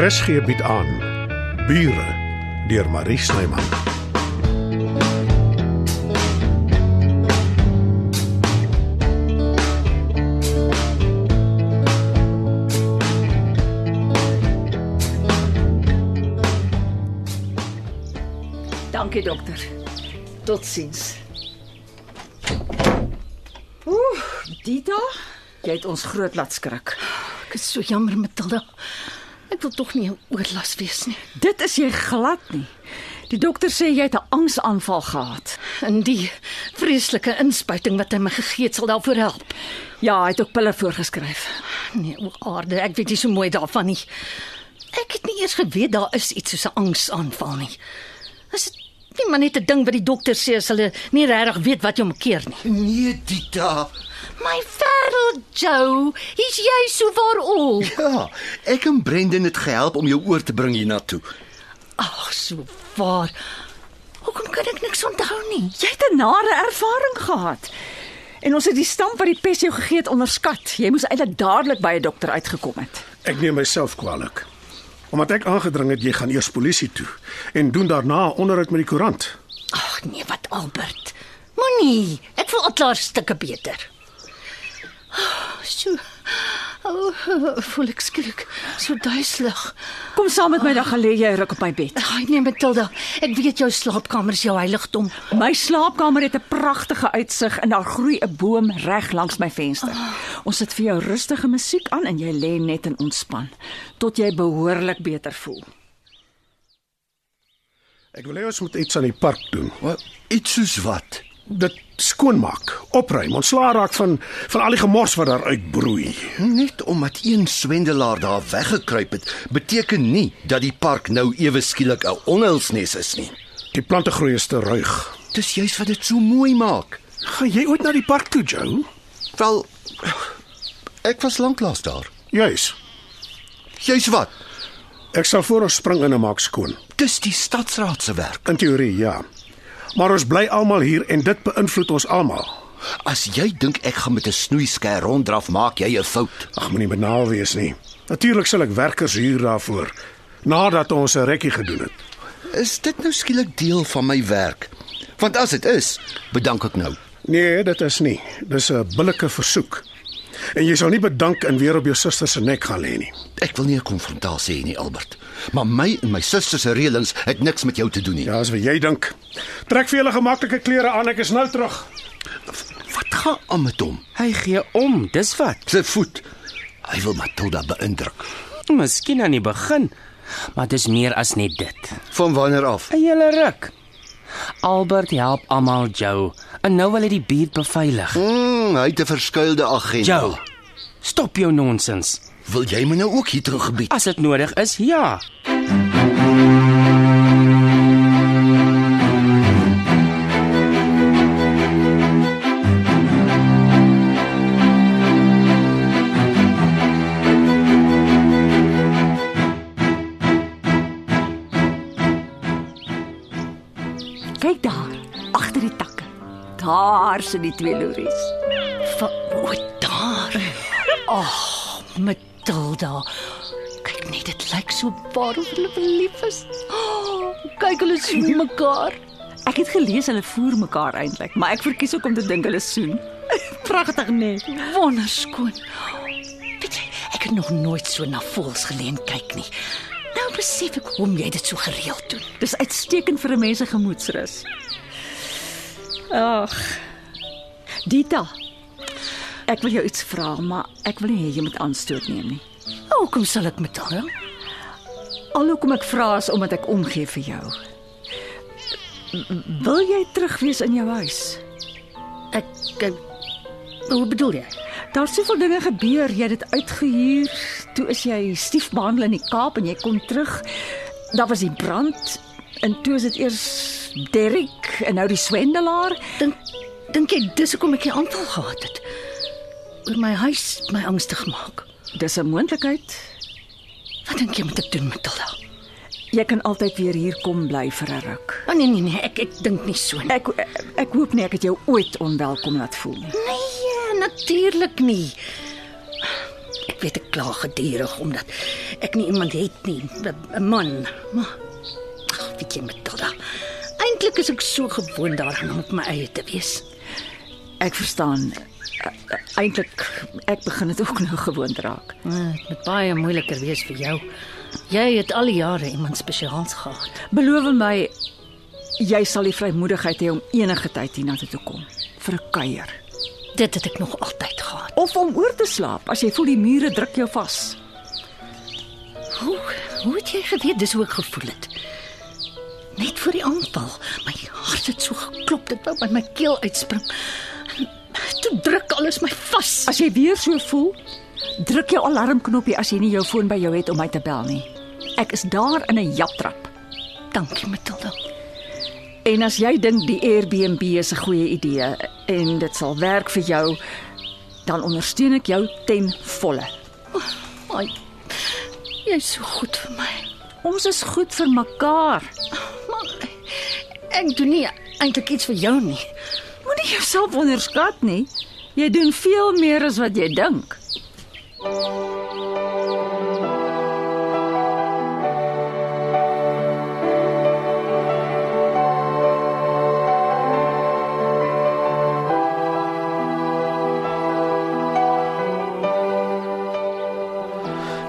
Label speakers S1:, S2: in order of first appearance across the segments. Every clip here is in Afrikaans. S1: RSG bied aan Bure deur Marie Snyman.
S2: Dankie dokter. Totsiens. Oeh, Dita, jy het ons groot laat skrik.
S3: Ek is so jammer, Matilda. Ek wil tog nie 'n oorlas wees nie.
S2: Dit is jy glad nie. Die dokter sê jy het 'n angsaanval gehad.
S3: En die vreeslike inspuiting wat hy my gegee het, sal daarvoor help.
S2: Ja, hy het ook pille voorgeskryf.
S3: Nee, o aarde, ek weet nie so mooi daarvan nie. Ek het nie eers geweet daar is iets soos 'n angsaanval nie. Is dit nie maar net 'n ding wat die dokter sê as hulle nie regtig weet wat jou omkeer nie?
S4: Nee, Tita.
S3: My wêreld, Joe, hier's jy so waar al.
S4: Ja, ek en Brendan het gehelp om jou oor te bring hiernatoe.
S3: Ag, so waar. Hoekom kan ek niks onthou nie?
S2: Jy het 'n nare ervaring gehad. En ons het die stamp wat die pes jou gegee het onderskat. Jy moes eintlik dadelik by 'n dokter uitgekom het.
S1: Ek neem myself kwaliek. Omdat ek aangedring het jy gaan eers polisie toe en doen daarna onderhoud met die koerant.
S3: Ag nee, wat Albert. Moenie, ek voel al klaar stukke beter. So. O, oh, voel ek skrik. So duiselig.
S2: Kom saam met my dan gaan lê jy ruk op my bed.
S3: Ag nee, Matilda, ek weet jou slaapkamer is jou heiligdom.
S2: My slaapkamer het 'n pragtige uitsig en daar groei 'n boom reg langs my venster. Ons sit vir jou rustige musiek aan en jy lê net en ontspan tot jy behoorlik beter voel.
S1: Ek wil hê ons moet iets aan die park doen.
S4: Wat iets soos wat?
S1: Dit skoonmaak, opruim, ontslaa raak van van al die gemors wat daar uitbroei.
S4: Net omdat een swendelaar daar weggekruip het, beteken nie dat die park nou ewe skielik 'n onheilsnes is nie.
S1: Die plante groei is te ruig.
S4: Dis juis wat dit so mooi maak.
S1: Gaan jy ooit na die park toe, Joe?
S4: Wel, ek was lanklaas daar.
S1: Juis.
S4: Juis wat?
S1: Ek sal voor ons spring in en maak skoon.
S4: Dis die stadsraad se werk.
S1: In teorie, ja. Maar ons bly almal hier en dit beïnvloed ons almal.
S4: As jy dink ek gaan met 'n snoeiskêr ronddraf, maak jy 'n fout.
S1: Ag, moenie benaal wees nie. Natuurlik sal ek werkers huur daarvoor nadat ons 'n rekkie gedoen het.
S4: Is dit nou skielik deel van my werk? Want as dit is, bedank ek nou.
S1: Nee, dit is nie. Dis 'n billike versoek. En jy sal nie bedank en weer op jou suster se nek gaan lê nie.
S4: Ek wil nie 'n konfrontasie hê nie, Albert. Maar my en my suster se reëlings het niks met jou te doen nie.
S1: Ja, as wat jy dink. Trek vir julle gemaklike klere aan, ek is nou terug.
S4: Wat gaan aan met hom?
S5: Hy gee om, dis wat.
S4: Sy voet. Hy wil Matilda beïndruk.
S5: Miskien aan die begin, maar dis meer as net dit.
S4: Van wanneer af?
S5: 'n Hele ruk. Albert help almal Joe en nou wil hy die buurt beveilig.
S4: Mm, hy het 'n verskuilde agent.
S5: Joe, stop jou nonsens.
S4: wil jy my nou ook hier teruggebied?
S5: As dit nodig is, ja.
S2: Kyk daar, agter die takke. Daar sit die twee loeries.
S3: Van o, daar. Ag, oh, Matilda. Kyk net, Nee, dit lyk so waar of hulle verlief is. Oh, kyk hulle soen mekaar.
S2: Nee. Ek het gelees hulle voer mekaar eintlik, maar ek verkies ook om te dink hulle soen. Pragtig, nee.
S3: Wonderskoon. Weet jy, ek het nog nooit so na voels geleen kyk nie. Nou besef ek hoekom jy dit so gereeld doen.
S2: Dis uitstekend vir 'n mens se gemoedsrus. Ag. Dita. Ek wil jou iets vra, maar ek wil nie hê jy moet aanstoot neem nie.
S3: Hoekom sal ek Matilda?
S2: Alhoekom ek vra is omdat ek omgee vir jou. Wil jy terug wees in jou huis?
S3: Ek, ek Hoe bedoel jy?
S2: Daar soveel dinge gebeur, jy het dit uitgehuur, toe is jy stiefbehandel in die Kaap en jy kom terug. Daar was die brand en toe is dit eers Derrick en nou die swendelaar.
S3: Dink dink jy dis hoekom ek die aanval gehad het? Oor my huis het my angstig maak.
S2: Dis 'n moontlikheid.
S3: Wat dink jy moet ek doen, Matilda?
S2: Jy kan altyd weer hier kom bly vir 'n ruk.
S3: O oh, nee nee nee, ek ek dink nie so nie.
S2: Ek ek hoop nie ek het
S3: Ja,
S2: jou ooit onwelkom laat voel nie.
S3: Nee, natuurlik nie. Ek weet ek kla gedurig omdat ek nie iemand het nie, 'n- 'n man. Maar ag, weet jy Matilda, eintlik ah. is ek so gewoond daaraan om op my eie te wees.
S2: Ek verstaan. Eintlik ek begin dit ook nou gewoond raak.
S3: Ja, Dit moet baie moeiliker wees vir jou. Jy het al die jare iemand spesiaals gehad.
S2: Beloof my jy sal die vrymoedigheid hê om enige tyd hiernatoe te kom vir 'n kuier
S3: Dit het ek nog altyd gehad.
S2: of om oor te slaap as jy voel die mure druk jou vas.
S3: Hoe, hoe het jy geweet dis hoe ek gevoel het? Net voor die aanval. My hart het so geklop, dit wou by my keel uitspring. En Toe druk alles my vas.
S2: As jy weer so voel, druk jou alarmknoppie as jy nie jou foon by jou het om my te bel nie. Ek is daar in 'n japtrap.
S3: Ah, Dankie, Matilda.
S2: En as jy dink die Airbnb is 'n goeie idee en dit sal werk vir jou, dan ondersteun ek jou ten volle.
S3: Ai. Jy's so goed vir my.
S2: Ons is goed vir mekaar.
S3: Maar ek doen nie eintlik iets vir jou nie.
S2: Moenie jouself onderskat nie. Jy doen veel meer as wat jy dink.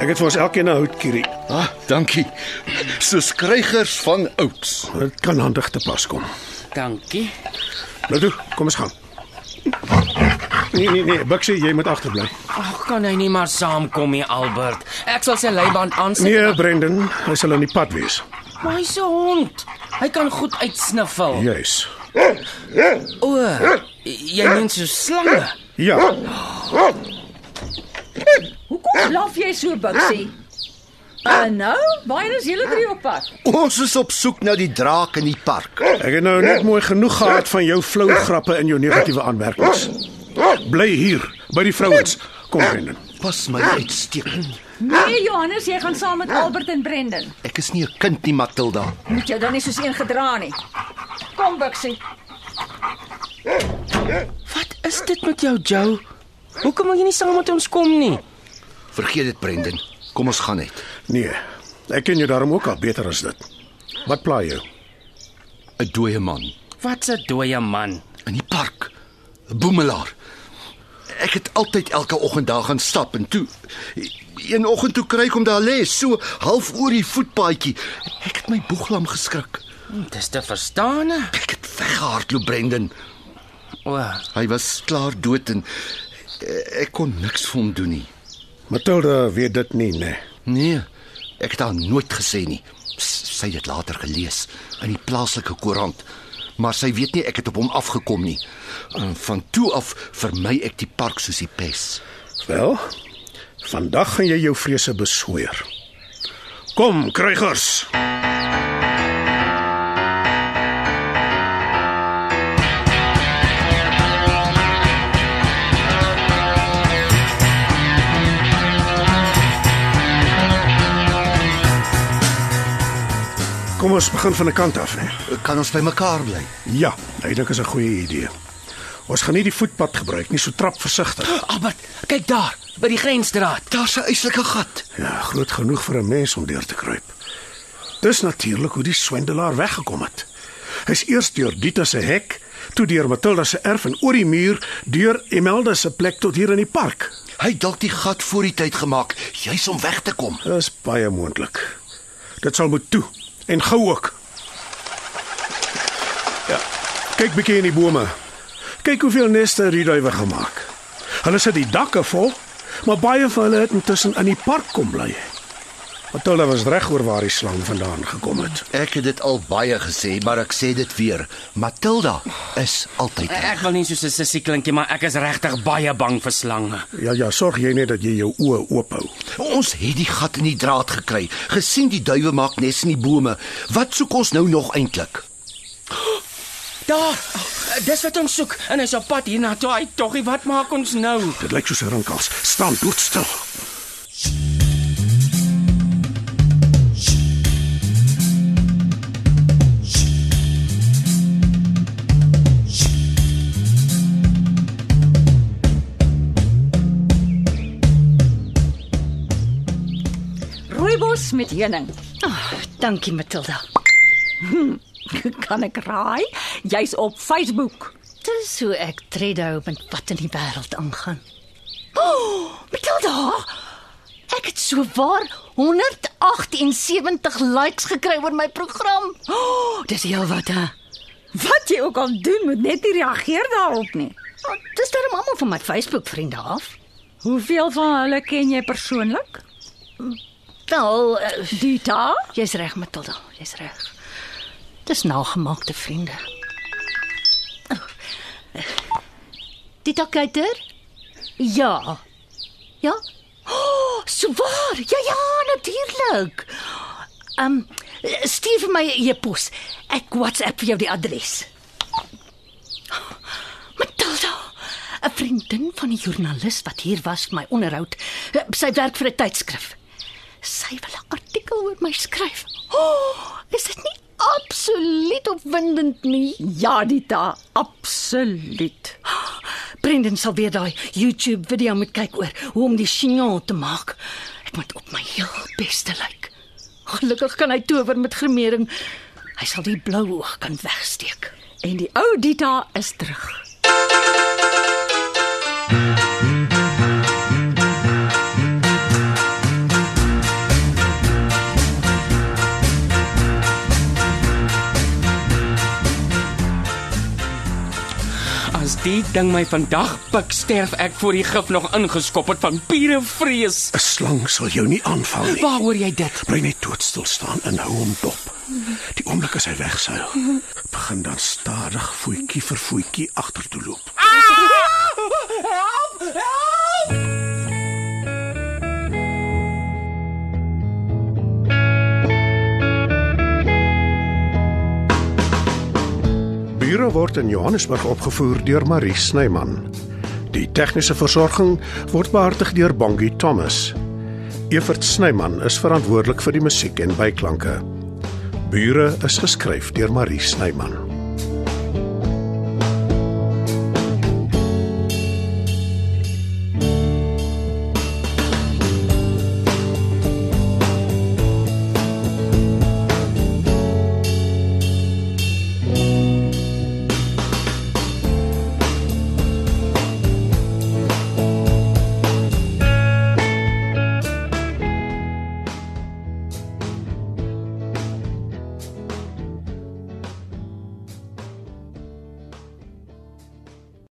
S1: Ek het vir ons elkeen 'n houtkierie.
S4: Ah, dankie. Soos krygers van ouds.
S1: Dit kan handig te pas kom.
S5: Dankie.
S1: Nou toe, kom ons gaan. Nee nee nee, Buxie, jy moet agterbly.
S5: Ag, kan hy nie maar saamkom nie, Albert? Ek sal sy leiband aansit.
S1: Nee, Brendan, hy sal aan die pad wees.
S5: maar hy's 'n hond. Hy kan goed uitsniffel.
S1: Juis.
S5: O, jy meen so slange.
S1: Ja,
S2: Hoekom blaf jy so, Buxie? En nou, waarheen is julle drie op pad?
S4: Ons is op soek na die draak in die park.
S1: ek het nou net mooi genoeg gehad van jou flou grappe en jou negatiewe aanmerkings. Bly hier by die vrouens. Kom Brendan.
S4: Pas my uitstekend.
S2: Nee, Johannes, jy gaan saam met Albert en Brendan.
S4: Ek is nie 'n kind nie, Matilda.
S2: Moet jou dan nie soos een gedra nie. Kom, Buxie.
S5: Wat is dit met jou, Joe? Hoekom wil jy nie saam met ons kom nie?
S4: Vergeet dit, Brendan. Kom ons gaan net.
S1: Nee. Ek ken jou daarom ook al beter as dit. Wat pla jou?
S4: 'n Dooie man
S5: Wat 'n dooie man.
S4: in die park. 'n Boemelaar. Ek het altyd elke oggend daar gaan stap en toe een oggend toe kry ek hom daar lê, so half oor die voetpaadjie. Ek het my boeglam geskrik.
S5: Dis te verstaan. hè?
S4: Ek het weggehardloop, Brendan.
S5: O,
S4: Hy was klaar dood en eh, ek kon niks vir hom doen nie.
S1: Matilda weet dit nie, nee.
S4: Nee, ek het haar nooit gesê nie. S- Sy het dit later gelees in die plaaslike koerant, maar sy weet nie ek het op hom afgekom nie. En van toe af vermy ek die park soos die pes.
S1: Wel, vandag gaan jy jou vrese besweer. Kom, krygers. Kom ons begin van 'n kant af, hè.
S4: Kan ons by mekaar bly?
S1: Ja, eintlik is 'n goeie idee. Ons gaan nie die voetpad gebruik nie, so trap versigtig.
S5: Albert, kyk daar, by die grensdraad.
S4: Daar's 'n uitslike gat.
S1: Ja, groot genoeg vir 'n mens om deur te kruip. Dis natuurlik hoe die swendelaar weggekom het. Hy's eers deur Dita se hek, toe deur Matilda se erf en oor die muur, deur Imelda se plek tot hier in die park.
S4: Hy het dalk die gat voor die tyd gemaak, juis om weg te kom.
S1: Dis baie moontlik. Dit sal moet toe en gou ook. Ja. Kyk bietjie in die bome. Kyk hoeveel neste die duwe gemaak. Hulle sit die dakke vol, maar baie van hulle het intussen in die park kom bly. Matilda was reg oor waar die slang vandaan gekom het.
S4: Ek het dit al baie gesê, maar ek sê dit weer. Matilda is altyd reg.
S5: Eh, Ek wil nie soos 'n sissie klinkie, maar ek is regtig baie bang vir slange.
S1: Ja ja, sorg jy net dat jy jou oë oop hou.
S4: Ons het die gat in die draad gekry. Gesien die duwe maak nes in die bome. Wat soek ons nou nog eintlik?
S5: Daar. Dis wat ons soek en hy's op pad hiernatoe. Hy toggie, wat maak ons nou?
S1: Dit lyk soos 'n rinkels. Staan doodstil.
S2: rooibos met heuning.
S3: Oh, dankie Matilda.
S2: Kan ek raai? Jy's op Facebook.
S3: Dis hoe ek tred hou met wat in die wêreld aangaan.
S2: Matilda,
S3: Ek het sowaar 178 likes gekry oor my program. Oh, dis heelwat hè.
S2: wat jy ook al doen, moet net nie reageer daarop nie.
S3: Oh, dis darem almal van my Facebook vriende af.
S2: Hoeveel van hulle ken jy persoonlik?
S3: Wel, eh,
S2: Dita?
S3: jy's reg Matilda, jy's reg. Dis nagemaakte vriende. Oh. Dit ook kyker? Ja. Ja? Oh, sowaar. Ja ja, natuurlik. Ehm um, stuur vir my 'n e-pos. Ek WhatsApp vir jou die adres. Matilda, 'n vriendin van die joernalis wat hier was vir my onderhoud. Sy werk vir 'n tydskrif. Sy wil 'n artikel oor my skryf. Oh, is dit nie absoluut opwindend nie?
S2: Ja, Dita, absoluut.
S3: Brendan sal weer daai YouTube video moet kyk oor hoe om die chignon te maak. Ek moet op my heel beste lyk. Gelukkig kan hy tower met grimering. Hy sal die blou oog kan wegsteek.
S2: En die ou Dita is terug.
S5: As die ding my vandag pik, sterf ek voor die gif nog ingeskop het van pure vrees.
S1: 'n Slang sal jou nie aanval nie.
S5: Waar hoor jy dit?
S1: Bly net doodstil staan en hou hom dop. Die oomblik as hy wegsuil, begin dan stadig voetjie vir voetjie agtertoe loop.
S5: Help! Help!
S1: Bure word in Johannesburg opgevoer deur Marie Snyman. Die tegniese versorging word behartig deur Bongie Thomas. Evert Snyman is verantwoordelik vir die musiek en byklanke. Bure is geskryf deur Marie Snyman.